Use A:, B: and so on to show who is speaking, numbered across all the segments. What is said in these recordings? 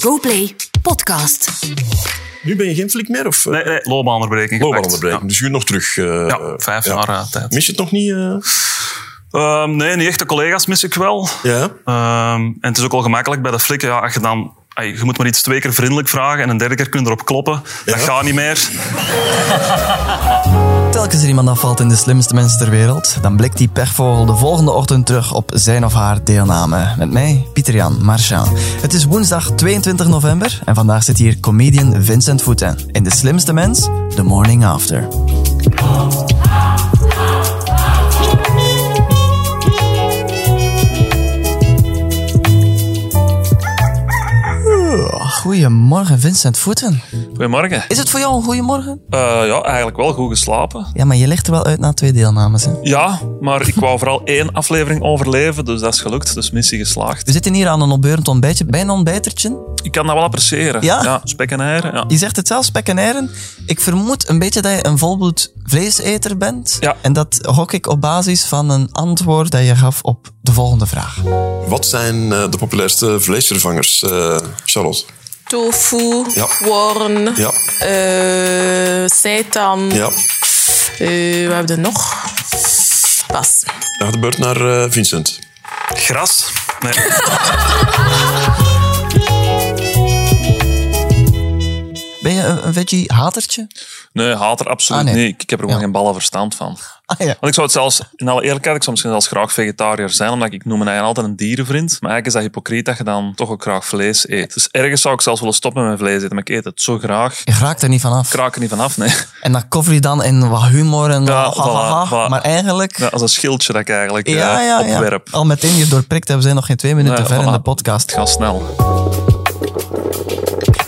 A: GoPlay Podcast.
B: Nu ben je geen flik meer? Of, eh,
C: Nee, nee, loopbaanonderbreking gepakt.
B: loopbaanonderbreking. Dus je nog terug. eh,
C: Ja, ja, vijf
B: ja.
C: jaar eh, tijd.
B: Mis je het nog niet? eh?
C: Ehm, nee, niet echte collega's mis ik wel.
B: Ja.
C: Ehm, en het is ook wel gemakkelijk bij de flikken. Ja, als je dan... ai, je moet maar iets twee keer vriendelijk vragen en een derde keer kun je erop kloppen. Dat
B: Ja.
C: gaat niet meer.
D: Telkens er iemand afvalt in de slimste mensen ter wereld, dan blikt die pechvogel de volgende ochtend terug op zijn of haar deelname. Met mij, Pieter-Jan Marchand. Het is woensdag 22 november en vandaag zit hier comedian Vincent Voeten in De Slimste Mens, The Morning After. Goedemorgen, Vincent Voeten.
C: Goedemorgen. Eh,
D: Is het voor jou een goeiemorgen?
C: ja, eigenlijk wel goed geslapen.
D: Ja, maar je ligt er wel uit na twee deelnames. Hè?
C: Ja, maar ik wou vooral één aflevering overleven, dus dat is gelukt. Dus missie geslaagd.
D: We zitten hier aan een opbeurend ontbijtje, bij een ontbijtertje.
C: Ik kan dat wel appreciëren.
D: Ja? Ja,
C: spek en eieren. Ja.
D: Je zegt het zelf, spek en eieren. Ik vermoed een beetje dat je een volbloed vleeseter bent.
C: Ja.
D: En dat hok ik op basis van een antwoord dat je gaf op de volgende vraag.
B: Wat zijn eh, de populairste vleesvervangers, eh, Charlotte?
E: Tofu,
B: Ja.
E: worm,
B: Ja.
E: eh, seitan.
B: Ja.
E: Eh, wat hebben we nog? Pas.
B: Nou, de beurt naar eh, Vincent.
C: Gras? Nee.
D: Ben je een, een veggie-hatertje?
F: Nee, haat er absoluut
D: Ah, nee.
F: niet. Ik- Ik heb er gewoon
D: Ja.
F: geen ballen verstand van.
D: Ah ja.
F: Want ik zou het zelfs, in alle eerlijkheid, ik zou misschien zelfs graag vegetariër zijn, omdat ik noem me eigenlijk altijd een dierenvriend. Maar eigenlijk is dat hypocriet dat je dan toch ook graag vlees eet. Dus ergens zou ik zelfs willen stoppen met mijn vlees eten, maar ik eet het zo graag.
D: Je raakt er niet van af.
F: Ik raak er niet vanaf, nee.
D: En dan cover je dan in wat humor en
F: Ja,
D: ha, ha, ha,
F: voilà,
D: ha.
F: voilà.
D: Maar eigenlijk...
F: Ja, als een schildje dat ik eigenlijk
D: Ja,
F: eh,
D: ja, ja.
F: opwerp.
D: Al meteen je doorprikt, hè. we zijn nog geen twee minuten
F: Ja,
D: ver in
F: voilà.
D: de podcast.
F: Het gaat snel.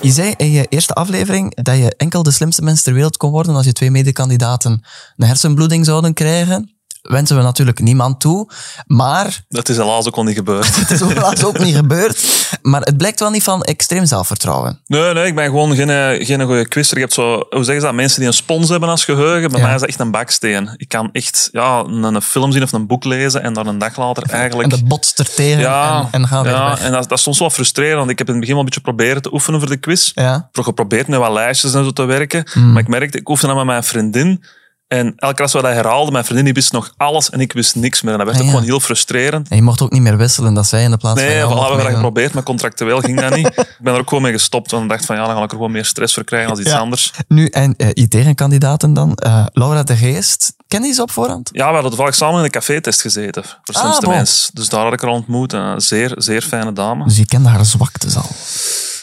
D: Je zei in je eerste aflevering dat je enkel de slimste mens ter wereld kon worden als je twee medekandidaten een hersenbloeding zouden krijgen. Wensen we natuurlijk niemand toe, maar
F: Dat is helaas ook al niet gebeurd.
D: het is ook helaas ook niet gebeurd. Maar het blijkt wel niet van extreem zelfvertrouwen.
F: Nee, nee, ik ben gewoon geen, eh, geen goede quizzer. Je hebt zo, hoe zeggen ze dat, mensen die een spons hebben als geheugen. Bij
D: Ja.
F: mij is dat echt een baksteen. Ik kan echt ja, een, een film zien of een boek lezen en dan een dag later
D: En
F: eigenlijk...
D: dat botst er tegen
F: Ja,
D: en, en gaat weer
F: ja
D: weg.
F: en dat, dat is soms wel frustrerend. Want ik heb in het begin wel een beetje proberen te oefenen voor de quiz.
D: Ja. Hmm.
F: Toch geprobeerd met wat lijstjes en zo te werken. Maar ik merkte, ik oefende dan met mijn vriendin. En elke keer als we dat herhaalden, mijn vriendin die wist nog alles en ik wist niks meer. En dat werd
D: Ah,
F: ook
D: ja.
F: gewoon heel frustrerend.
D: En je mocht ook niet meer wisselen, dat zij in de plaats van
F: Nee, voilà,
D: jou
F: we
D: mocht
F: hebben dat
D: meedoen.
F: geprobeerd, maar contractueel ging dat niet. ik ben er ook gewoon mee gestopt, want ik dacht van ja, dan ga ik er gewoon meer stress voor krijgen als iets
D: Ja.
F: anders.
D: Nu, en eh, je tegenkandidaten dan, eh, Laura de Geest. Ken die ze op voorhand?
F: Ja, we hadden toevallig samen in een café-test gezeten, voor
D: Ah,
F: slimste
D: bon.
F: mens. Dus daar had ik haar ontmoet, een zeer, zeer fijne dame.
D: Dus je kende haar zwaktes al.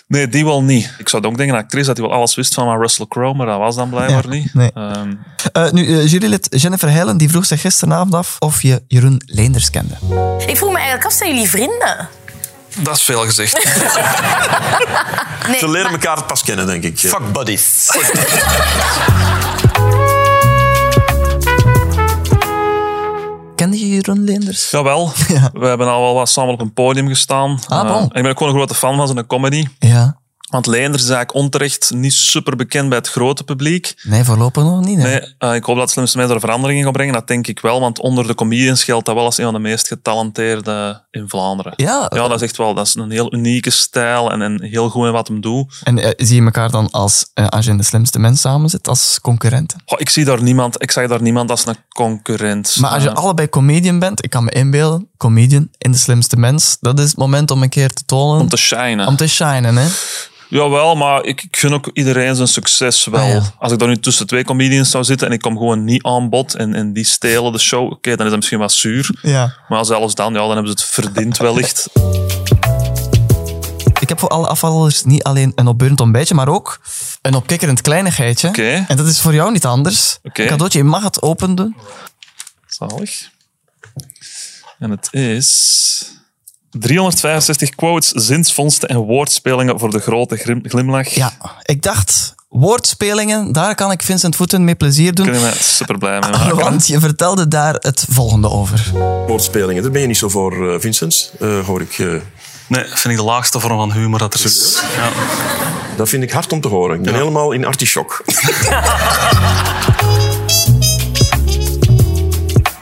F: Nee, die wel niet. Ik zou ook denken, een actrice, dat hij wel alles wist van maar Russell Crowe, maar dat was dan blijkbaar
D: Ja,
F: niet.
D: nee.
F: Ehm,
D: Eh, nu, eh, jurylid Jennifer Heilen die vroeg zich gisteravond af of je Jeroen Leenders kende.
G: Ik vroeg me eigenlijk af, zijn jullie vrienden?
C: Dat is veel gezegd.
G: Nee,
B: Ze leren elkaar pas kennen, denk ik.
C: Fuck buddies.
D: Kende je Jeroen Leenders?
F: jawel, we hebben al wel wat samen op een podium gestaan.
D: Ah,
F: Eh,
D: bon.
F: en ik ben ook gewoon een grote fan van zijn comedy.
D: Ja.
F: Want Leenders is eigenlijk onterecht niet super bekend bij het grote publiek.
D: Nee, voorlopig nog niet. hè?
F: Nee, eh, ik hoop dat het slimste mensen er verandering in gaat brengen. Dat denk ik wel, want onder de comedians geldt dat wel als een van de meest getalenteerde in Vlaanderen.
D: Ja.
F: ja, dat is echt wel dat is een heel unieke stijl en, en heel goed in wat hem doet.
D: En eh, zie je elkaar dan als, eh, als je in de slimste mens samen zit, als concurrenten?
F: Goh, ik zie daar niemand, ik zag daar niemand als een concurrent.
D: Maar als je
F: Eh,
D: allebei comedian bent, ik kan me inbeelden, comedian in de slimste mens, dat is het moment om een keer te tonen.
F: om te shinen.
D: om te shinen, hè?
F: Jawel, maar ik, ik gun ook iedereen zijn succes wel.
D: Ah, ja.
F: Als ik dan nu tussen twee comedians zou zitten en ik kom gewoon niet aan bod en, en die stelen de show, oké, dan is dat misschien wat zuur.
D: Ja.
F: Maar zelfs dan, ja, dan hebben ze het verdiend wellicht.
D: Ik heb voor alle afvallers niet alleen een opbeurend ontbijtje, maar ook een opkikkerend kleinigheidje.
F: Oké.
D: En dat is voor jou niet anders.
F: Oké.
D: Een cadeautje, je mag het open doen.
F: Zalig. En het is... 365 quotes, zinsvondsten en woordspelingen voor de grote grim- glimlach.
D: Ja, ik dacht, woordspelingen, daar kan ik Vincent Voeten mee plezier doen.
F: Kunnen we super blij mee maken.
D: Want je vertelde daar het volgende over.
B: Woordspelingen, daar ben je niet zo voor, eh, Vincent. Eh, hoor ik. eh.
C: Nee, vind ik de laagste vorm van humor dat er is. Ja.
B: dat vind ik hard om te horen. Ik ben helemaal in artichok.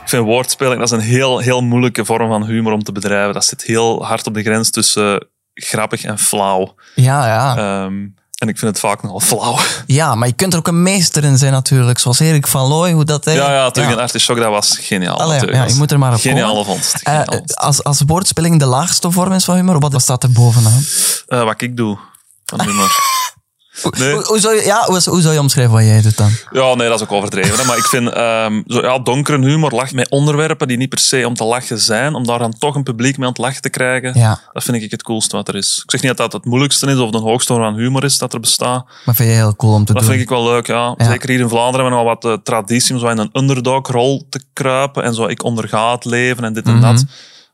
F: Ik vind woordspeling, dat is een heel, heel moeilijke vorm van humor om te bedrijven. Dat zit heel hard op de grens tussen grappig en flauw.
D: Ja, ja.
F: Ehm, en ik vind het vaak nogal flauw.
D: ja, maar je kunt er ook een meester in zijn natuurlijk. Zoals Erik van Looy, hoe dat... hij-
F: Ja, ja, Teug en Artisjok, dat was geniaal.
D: Allee,
F: natuurlijk.
D: ja, je moet er maar op
F: Geniale
D: komen.
F: vondst.
D: Eh,
F: geniale vondst.
D: als, als woordspeling de laagste vorm is van humor, wat wat staat er bovenaan?
F: Eh, wat ik doe van humor. Nee.
D: Hoe, hoe zou je, ja, hoe, hoe zou je omschrijven wat jij doet dan?
F: Ja, nee, dat is ook overdreven. hè. Maar ik vind ehm zo, ja, donkere humor, lacht met onderwerpen die niet per se om te lachen zijn, om daar dan toch een publiek mee aan het lachen te krijgen,
D: Ja.
F: dat vind ik het coolste wat er is. Ik zeg niet dat dat het moeilijkste is of de hoogste vorm van humor is dat er bestaat.
D: Maar vind je heel cool om te
F: Dat
D: doen?
F: vind ik wel leuk, ja.
D: Ja.
F: Zeker hier in Vlaanderen hebben we nog wat eh, traditie om zo in een underdog-rol te kruipen en zo ik onderga het leven en dit en dat.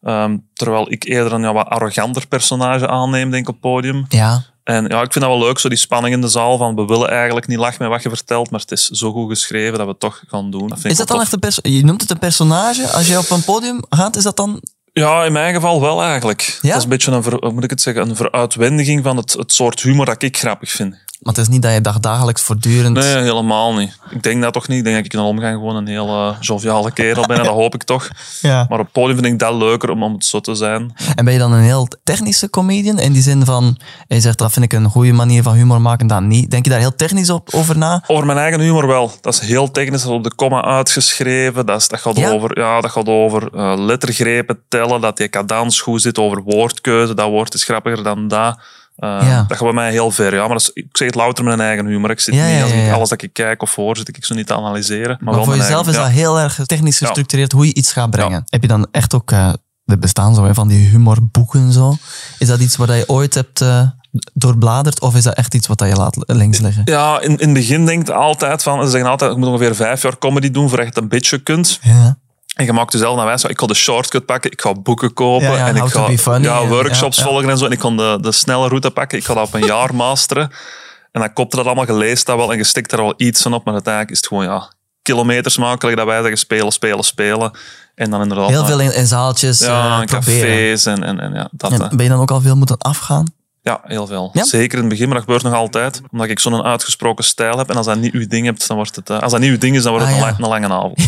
D: Mhm.
F: Ehm, terwijl ik eerder een ja, wat arroganter personage aanneem, denk ik, op podium.
D: Ja.
F: En ja, ik vind dat wel leuk, zo die spanning in de zaal van we willen eigenlijk niet lachen met wat je vertelt, maar het is zo goed geschreven dat we het toch gaan doen. Dat vind ik
D: Is dat
F: wel tof.
D: dan echt een perso- Je noemt het een personage. Als je op een podium gaat, is dat dan...
F: Ja, in mijn geval wel eigenlijk.
D: Ja?
F: Dat is een beetje een, ver- hoe moet ik het zeggen, een veruitwendiging van het, het soort humor dat ik grappig vind.
D: Maar het is niet dat je dag, dagelijks voortdurend...
F: Nee, helemaal niet. Ik denk dat toch niet. Ik denk dat ik in de omgang gewoon een heel eh, joviale kerel ben, en dat hoop ik toch.
D: Ja.
F: Maar op het podium vind ik dat leuker om, om het zo te zijn.
D: En ben je dan een heel technische comedian? In die zin van, je zegt dat vind ik een goede manier van humor maken, dan niet. Denk je daar heel technisch op, over na?
F: Over mijn eigen humor wel. Dat is heel technisch, dat is op de comma uitgeschreven. Dat, is, dat gaat
D: Ja?
F: over, ja, dat gaat over eh, lettergrepen, tellen, dat je cadans goed zit, over woordkeuze. Dat woord is grappiger dan dat. Eh,
D: Ja.
F: Dat gaat bij mij heel ver. Ja, maar dat is- ik zeg het louter met mijn eigen humor. Ik zit
D: Ja,
F: niet,
D: ja,
F: als
D: ja,
F: ik-
D: ja.
F: alles dat ik kijk of hoor, zit ik zo niet te analyseren. Maar,
D: Maar,
F: wel
D: voor
F: mijn
D: jezelf is
F: eigen-
D: dat
F: ja.
D: heel erg technisch gestructureerd hoe je iets gaat brengen. Heb je dan echt ook... eh er bestaan zo hè, van die humorboeken en zo. Is dat iets wat je ooit hebt eh, doorbladerd? Of is dat echt iets wat je laat links liggen?
F: Ja, in, in het begin denk je altijd van, ze zeggen altijd, ik moet ongeveer vijf jaar comedy doen voor echt een beetje kunt.
D: Ja.
F: En je maakt jezelf naar wijs. Ik ga de shortcut pakken, ik ga boeken kopen.
D: Ja, ja,
F: en ik
D: how to
F: ga
D: be funny
F: ja,
D: en-
F: workshops
D: ja, ja.
F: volgen en zo. En ik kon de, de snelle route pakken. Ik ga dat op een jaar masteren. En dan kopte dat allemaal, je leest dat wel en je stikt er wel iets van op. Maar uiteindelijk is het gewoon, ja, kilometers makkelijk dat wij zeggen spelen, spelen, spelen. En dan inderdaad...
D: Heel
F: maar-
D: veel in, in zaaltjes
F: ja,
D: ja,
F: en
D: proberen.
F: cafés en, en, en ja, dat. eh. hè.
D: En ben je dan ook al veel moeten afgaan?
F: Ja, heel veel.
D: Ja?
F: Zeker in het begin, maar dat gebeurt nog altijd. Omdat ik zo'n uitgesproken stijl heb. En als dat niet uw ding, hebt, dan wordt het, eh, als dat niet uw ding is, dan wordt het
D: Ah,
F: een,
D: ja.
F: la- een lange avond. Ja,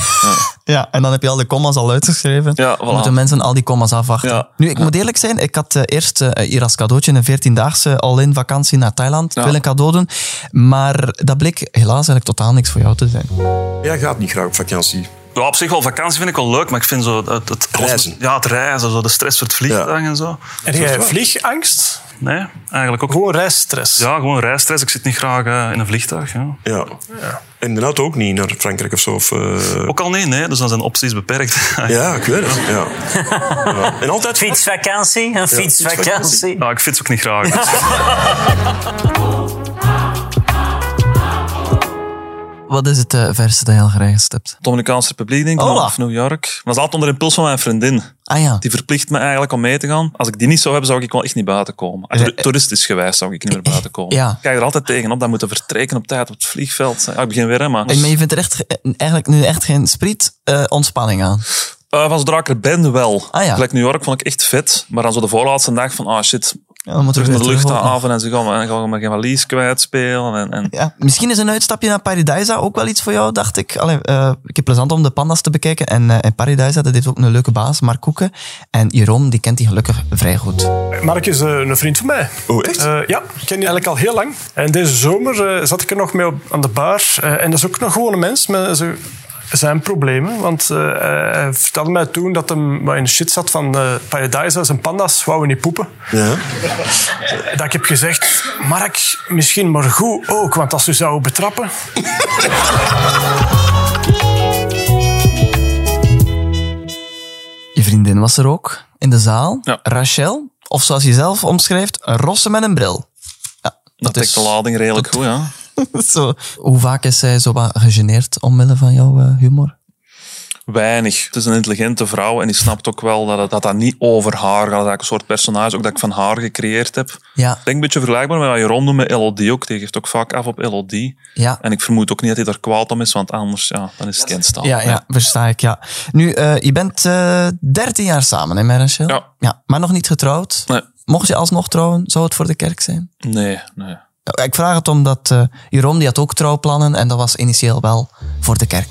D: Ja, en dan heb je al de commas al uitgeschreven.
F: ja
D: Dan Moeten
F: voilà.
D: mensen al die commas afwachten.
F: Ja.
D: Nu, ik moet eerlijk zijn, ik had eh, eerst eh, hier als cadeautje een 14-daagse all-in vakantie naar Thailand
F: Ja.
D: willen cadeau doen. Maar dat bleek helaas eigenlijk totaal niks voor jou te zijn.
B: Jij gaat niet graag op vakantie.
C: Ja, op zich wel, vakantie vind ik wel leuk, maar ik vind zo het, het alles-
B: Reizen.
C: ja, het reizen, zo, de stress voor het vliegtuig en zo.
H: En jij vliegangst?
C: Nee, eigenlijk ook.
H: Gewoon reisstress.
C: Ja, gewoon reisstress. Ik zit niet graag eh, in een vliegtuig. Ja.
B: Ja. En daarna ook niet naar Frankrijk of zo. Of, eh,
C: Ook al nee, nee, dus dan zijn opties beperkt.
B: Ja, ik weet het. Ja. Ja. En altijd
H: Fietsvakantie, een
B: fietsvakantie.
H: fietsvakantie.
C: Ja, ik fiets ook niet graag. dus-
D: Wat is het eh, verste dat je al gereisd hebt?
F: Dominicaanse Republiek, denk ik,
D: Hola.
F: of New York. Maar dat is altijd onder impuls van mijn vriendin.
D: Ah ja,
F: Die verplicht me eigenlijk om mee te gaan. Als ik die niet zou hebben, zou ik wel echt niet buiten komen. Als
D: Eh,
F: toeristisch gewijs zou ik niet meer buiten komen.
D: Ja.
F: Ik kijk er altijd tegen op dat moeten vertrekken op tijd op het vliegveld. Ja, ik begin weer, hè, maar...
D: en maar je vindt er echt, ge- eh, eigenlijk nu echt geen spriet eh, ontspanning aan.
F: Eh, van zodra ik er ben, wel.
D: Ah, ja.
F: Gelijk New York vond ik echt vet. Maar dan zo de voorlaatste dag van, ah shit,
D: Ja, dan moeten
F: terug
D: we
F: naar de
D: weer terug
F: luchthaven en ze gaan, en gaan we maar geen valies kwijtspelen. En, en...
D: Ja, misschien is een uitstapje naar Paradise ook wel iets voor jou, dacht ik. Allee, eh, ik heb plezant om de panda's te bekijken. En, eh, en Paradise, dat heeft ook een leuke baas, Mark Koeken. En Jeroen, die kent die gelukkig vrij goed.
H: Mark is eh, een vriend van mij.
B: Oh, echt?
H: Eh, ja, ik ken die eigenlijk al heel lang. En deze zomer eh, zat ik er nog mee op, aan de bar. Eh, en dat is ook een gewone mens met zo- zijn problemen. Want eh, hij vertelde mij toen dat hem wat in de shit zat van eh Paradise. Zijn panda's wouden niet poepen. Eh,
B: Ja.
H: Dat ik heb gezegd, Mark, misschien maar goed ook. Want als u zou betrappen...
D: Je vriendin was er ook, in de zaal.
F: Ja.
D: Rachel, of zoals je zelf omschrijft, een rosse met een bril. Ja,
F: Dat dekt de lading redelijk goed, ja.
D: zo. Hoe vaak is zij zo wat gegeneerd omwille van jouw eh, humor?
F: Weinig. Het is een intelligente vrouw en die snapt ook wel dat het- dat, dat niet over haar gaat. Dat is eigenlijk een soort personage ook dat ik van haar gecreëerd heb.
D: Ja,
F: Ik denk een beetje vergelijkbaar met wat Jeroen doet met LOD ook. Die geeft ook vaak af op LOD.
D: ja.
F: En ik vermoed ook niet dat hij er kwaad om is, want anders ja, dan is het geen staal.
D: Ja, ja, versta ik, ja. Nu, eh, je bent eh 13 jaar samen, hè, met Rachel?
F: Ja.
D: Maar nog niet getrouwd?
F: Nee.
D: Mocht je alsnog trouwen, zou het voor de kerk zijn?
F: Nee, nee.
D: Nou, Ik vraag het omdat eh Jeroen die had ook trouwplannen en dat was initieel wel voor de kerk.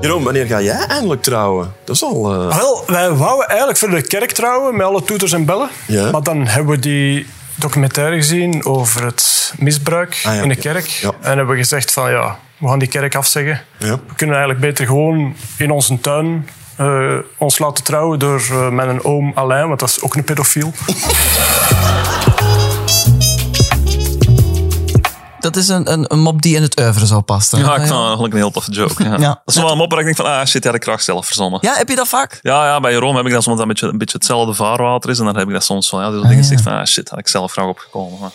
B: Jeroen, wanneer ga jij eindelijk trouwen? Dat is al... eh,
H: Ah, Wel, wij wouden eigenlijk voor de kerk trouwen met alle toeters en bellen.
B: Ja.
H: Maar dan hebben we die documentaire gezien over het misbruik
B: Ah, ja,
H: in de
B: ja.
H: kerk.
B: Ja.
H: En hebben we gezegd van ja, we gaan die kerk afzeggen.
B: Ja.
H: We kunnen eigenlijk beter gewoon in onze tuin eh, ons laten trouwen door eh, met een oom Alain, want dat is ook een pedofiel.
D: Dat is een, een, een mop die in het oeuvre zou passen.
F: Ja, ik vond dat eigenlijk een heel tof joke. Ja.
D: Ja.
F: Dat is wel een mop waar ik denk van, ah shit, die had ik graag zelf verzonnen.
D: Ja, heb je dat vaak?
F: Ja, ja, bij Jeroen heb ik dat soms dat een beetje, een beetje hetzelfde vaarwater is. En dan heb ik dat soms van, ja, die dingen zegt van, ah shit, had ik zelf graag opgekomen. Maar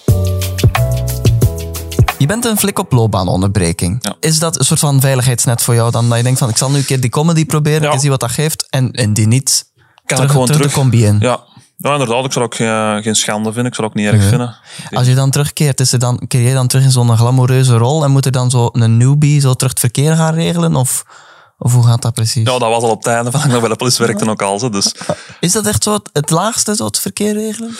D: Je bent een flik op loopbaanonderbreking.
F: Ja.
D: Is dat een soort van veiligheidsnet voor jou dan? Dat je denkt van, ik zal nu een keer die comedy proberen,
F: Ja.
D: ik zie wat dat geeft. En, en die niet.
F: kan
D: terug,
F: ik gewoon terug.
D: de combi in.
F: Ja. ja, inderdaad, ik zou ook geen, geen schande vinden. Ik zou ook niet erg vinden.
D: Als je dan terugkeert, is er dan, keer jij dan terug in zo'n glamoureuze rol en moet er dan zo een newbie zo terug het verkeer gaan regelen? Of, of hoe gaat dat precies?
F: Ja, dat was al op het einde van dat ik nog bij de politie werkte ook al. zo, Dus
D: Is dat echt zo het, het laagste, zo het verkeer regelen?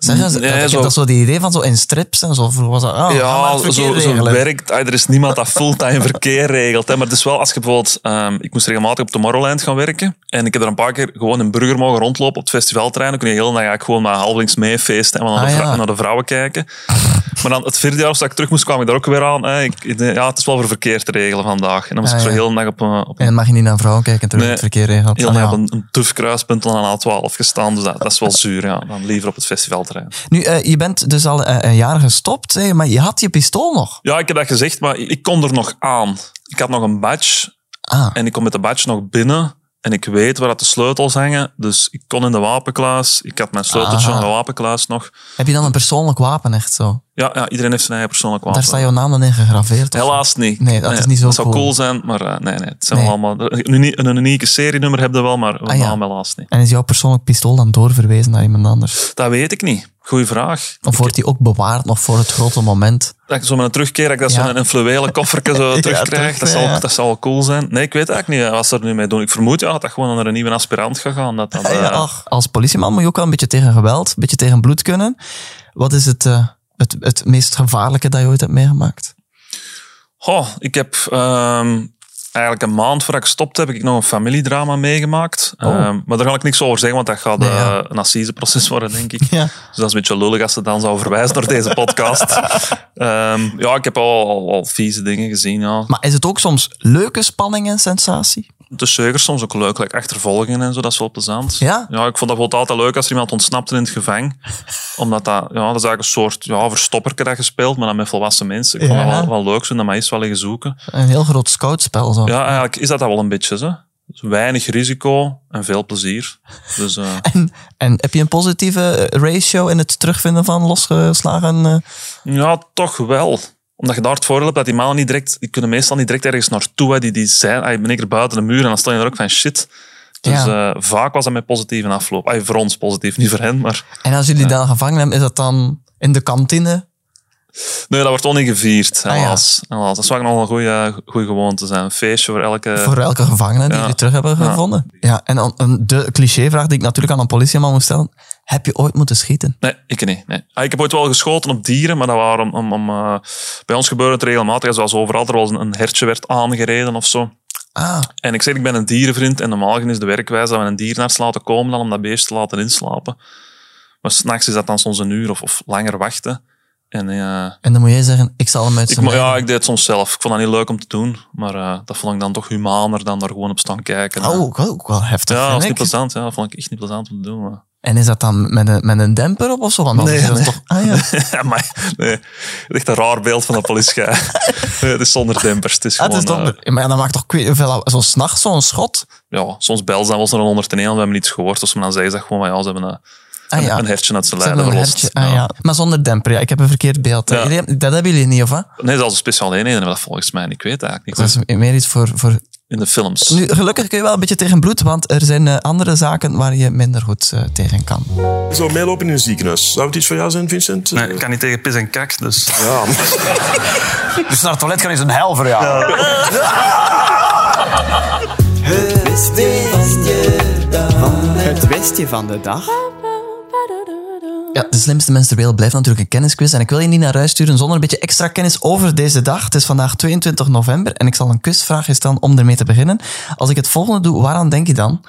D: Zeggen ze,
F: Nee,
D: dat, ik heb
F: zo-
D: dat zo die idee van zo in strips en zo. Vroeger was dat, ah, ga maar
F: Ja,
D: het verkeer
F: zo, zo
D: regelen.
F: werkt. ah, Er is niemand dat fulltime verkeer regelt. Hè. Maar het is wel als je bijvoorbeeld. ehm, ik moest regelmatig op Tomorrowland gaan werken. En ik heb er een paar keer gewoon een burger mogen rondlopen op het festivalterrein. Dan kun je heel dan ga ik gewoon maar halflinks mee feesten en maar naar, de
D: Ah,
F: vrou-
D: ja.
F: naar de vrouwen kijken. Maar dan het vierde jaar of zo dat ik terug moest, kwam ik daar ook weer aan. Hè. Ik, ik denk, ja, het is wel voor verkeer te regelen vandaag. En dan moest
D: Ah,
F: ik zo
D: ja.
F: heel de dag op een, op
D: En
F: een,
D: dan mag je niet naar vrouwen kijken terwijl
F: Nee,
D: het verkeer regelt.
F: heel
D: Ah,
F: de dag
D: ja.
F: op een, een tuf kruispunt en aan A12 gestaan. Dus dat, dat is wel zuur. Ja. Dan liever op het festivalterrein.
D: Nu, eh, je bent dus al eh, een jaar gestopt, hè, maar je had je pistool nog.
F: Ja, ik heb dat gezegd, maar ik kon er nog aan. Ik had nog een badge
D: Ah,
F: en ik kom met de badge nog binnen. En ik weet waar dat de sleutels hangen. Dus ik kon in de wapenklaas. Ik had mijn sleuteltje
D: Aha.
F: van de wapenklaas nog.
D: heb je dan een persoonlijk wapen echt zo?
F: Ja, ja, iedereen heeft zijn eigen persoonlijk wapen.
D: Daar staat jouw naam dan in gegraveerd? of zo?
F: Helaas niet.
D: Nee, dat is niet zo
F: Dat zou
D: cool.
F: cool, zijn, maar eh, nee, nee. Het zijn
D: Nee.
F: wel allemaal... Een, unie- een unieke serienummer heb je wel, maar
D: Ah,
F: mijn
D: ja.
F: naam helaas niet.
D: En is jouw persoonlijk pistool dan doorverwezen naar iemand anders?
F: Dat weet ik niet. Goeie vraag.
D: Of wordt die ook bewaard nog voor het grote moment?
F: Dat ik zo met een terugkeer, dat ik dat
D: Ja.
F: zo'n fluwelen kofferke zo
D: Ja,
F: terugkrijg, dat,
D: terug,
F: zal,
D: ja.
F: dat zal wel cool zijn. Nee, ik weet eigenlijk niet eh, wat ze er nu mee doen. Ik vermoed ja, dat dat gewoon naar een nieuwe aspirant gaat gaan. Dat dat, eh,
D: Ja, ach, als politieman moet je ook wel een beetje tegen geweld, een beetje tegen bloed kunnen. Wat is het, eh, het, het meest gevaarlijke dat je ooit hebt meegemaakt?
F: Goh, ik heb ehm, eigenlijk een maand voordat ik stopte, heb ik nog een familiedrama meegemaakt. Ehm, maar daar ga ik niks over zeggen, want dat gaat
D: Oh. Nee,
F: eh,
D: ja.
F: een assiseproces worden, denk ik.
D: Ja.
F: Dus dat is een beetje lullig als ze dan zou verwijzen naar deze podcast. Ehm, ja, ik heb al, al, al vieze dingen gezien. Ja.
D: Maar is het ook soms leuke spanning en sensatie?
F: De zeugers soms ook leuk, like achtervolgingen en zo, dat is wel plezant.
D: Ja?
F: ja, ik vond dat bijvoorbeeld altijd leuk als er iemand ontsnapte in het gevang. Omdat dat, ja, dat is eigenlijk een soort ja, verstopperke dat gespeeld, maar dan met volwassen mensen. Ik vond
D: Ja.
F: dat wel, wel leuk, zo, dat maar eens wel liggen zoeken.
D: Een heel groot scoutspel. Zo.
F: Ja, eigenlijk is dat, dat wel een beetje zo. Dus weinig risico en veel plezier. Dus eh,
D: En, en heb je een positieve eh, ratio in het terugvinden van losgeslagen? eh,
F: ja, toch wel. Omdat je daar het voordeel hebt dat die mannen niet direct... Die kunnen meestal niet direct ergens naartoe. Hè. Die, die zijn... ah, Je bent een keer buiten de muur en dan sta je er ook van shit. Dus eh, vaak was dat met positieve afloop. Ah, voor ons positief, niet voor hen, maar...
D: en als jullie dan gevangen hebben, is dat dan in de kantine?
F: Nee, dat wordt ongevierd,
D: Ah, ja.
F: helaas. helaas. Dat zou eigenlijk nog wel een goede, goede gewoonte zijn. Een feestje voor elke...
D: voor elke gevangene die
F: ja.
D: jullie terug hebben
F: Ja.
D: gevonden. Ja, en dan een, de clichévraag die ik natuurlijk aan een politieman moet stellen. Heb je ooit moeten schieten?
F: Nee, ik niet. Nee. Ah, ik heb ooit wel geschoten op dieren, maar dat waren om, om, om, eh, bij ons gebeurde het regelmatig, zoals overal, er was een, een hertje werd aangereden of zo.
D: Ah,
F: En ik zeg, ik ben een dierenvriend en normaal gezien is de werkwijze dat we een dier naar laten komen dan om dat beest te laten inslapen. Maar s'nachts is dat dan soms een uur of, of langer wachten. En eh,
D: en dan moet jij zeggen, ik zal hem uit
F: ik,
D: zijn
F: mo- ja,
D: eigen-
F: ik deed het soms zelf. Ik vond dat niet leuk om te doen, maar eh, dat vond ik dan toch humaner dan daar gewoon op staan kijken.
D: Oh, ook wel- ook wel heftig,
F: ja, dat was
D: vind
F: niet
D: ik.
F: plezant. Ja, dat vond ik echt niet plezant om te doen. Maar.
D: En is dat dan met een, met een demper op of zo? Want anders
F: Nee,
D: is dat
F: nee.
D: toch... Ah, ja.
F: Ja, maar nee, echt een raar beeld van de politie. nee, het is zonder dempers. Het is
D: Ah,
F: gewoon,
D: het is
F: eh,
D: donder. Maar ja, dan maakt toch kwijt hoeveel... Zo'n s'nachts, zo'n schot.
F: ja, soms bel ze dan wel eens naar een 101 en we hebben niets gehoord. Dus dan zeggen ze gewoon, van, ja, ze hebben een,
D: Ah, ja.
F: een hertje uit zijn
D: Ze hebben
F: lijden
D: een
F: verlost.
D: hertje.
F: Ja.
D: Ah, ja. Maar zonder demper, ja. Ik heb een verkeerd beeld. hè.
F: Ja.
D: Jullie- Dat hebben jullie niet, of wat?
F: Nee, zelfs een speciale eenheden hebben dat volgens mij. Ik weet het eigenlijk
D: Dat
F: niet.
D: is meer iets voor, voor
F: In de films.
D: Nu, gelukkig kun je wel een beetje tegen bloed, want er zijn eh, andere zaken waar je minder goed eh, tegen kan.
B: Zo meelopen in een ziekenhuis. Zou het iets voor jou zijn, Vincent?
C: Nee, ik kan niet tegen pis en kak, dus...
B: Ja,
I: Dus naar het toilet gaan is een hel voor jou. Het westje van de dag.
D: Ja, de slimste mensen ter wereld blijft natuurlijk een kennisquiz. En ik wil je niet naar huis sturen zonder een beetje extra kennis over deze dag. Het is vandaag 22 november en ik zal een quizvraagje stellen om ermee te beginnen. Als ik het volgende doe, waaraan denk je dan?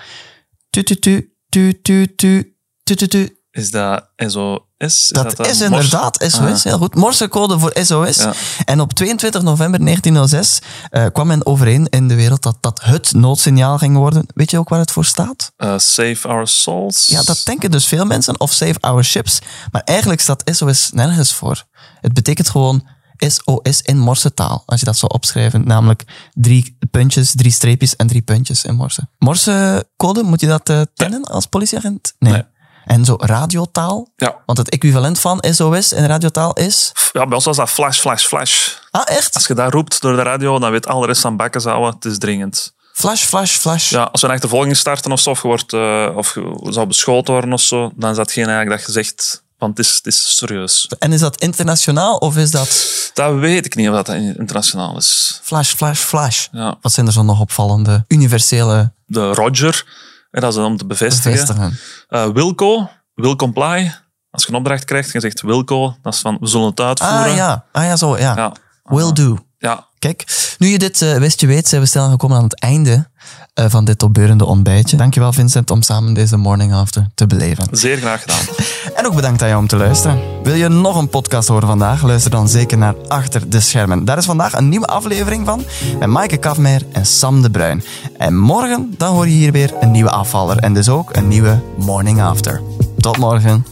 D: Tu tu tu, tu tu tu, tu tu tu.
F: Is dat en zo is
D: Dat,
F: dan
D: is
F: Morse? Ah.
D: inderdaad SOS, heel goed. Morsecode voor SOS.
F: Ja.
D: En op 22 november 1906 eh, kwam men overeen in de wereld dat dat het noodsignaal ging worden. Weet je ook waar het voor staat?
F: Eh, save Our Souls.
D: Ja, dat denken dus veel mensen, of Save Our Ships. Maar eigenlijk staat SOS nergens voor. Het betekent gewoon SOS in morsetaal, als je dat zou opschrijven. Namelijk drie puntjes, drie streepjes en drie puntjes in morse. Morsecode, moet je dat eh, kennen als politieagent? Nee. En zo radiotaal?
F: Ja.
D: Want het equivalent van SOS in radiotaal is...
F: Ja, bij ons was dat flash, flash, flash.
D: Ah, echt?
F: Als je dat roept door de radio, dan weet alle rest aan bakken zouden. Het is dringend.
D: Flash, flash, flash.
F: Ja, als we een achtervolging starten of zo, of je, wordt, eh, of je zou beschoten worden of zo, dan is dat geen eigenlijk dat je zegt, want het is, het is serieus.
D: En is dat internationaal of is dat
F: Dat weet ik niet of dat internationaal is.
D: flash, flash, flash?
F: Ja.
D: Wat zijn er zo nog opvallende universele
F: De Roger, en dat is om te bevestigen.
D: bevestigingen?
F: Eh, Wilco, wil comply. Als je een opdracht krijgt en je zegt Wilco, dat is van we zullen het uitvoeren.
D: Ah ja, ah, ja zo, ja.
F: Ja.
D: Will do.
F: Ja.
D: Kijk, nu je dit eh, wist je weet, zijn we snel gekomen aan het einde eh, van dit opbeurende ontbijtje. Dankjewel Vincent om samen deze morning after te beleven.
F: Zeer graag gedaan.
D: En ook bedankt aan jou om te luisteren. Wil je nog een podcast horen vandaag? Luister dan zeker naar Achter de Schermen. Daar is vandaag een nieuwe aflevering van met Maaike Kafmeijer en Sam de Bruin. En morgen dan hoor je hier weer een nieuwe afvaller en dus ook een nieuwe Morning After. Tot morgen.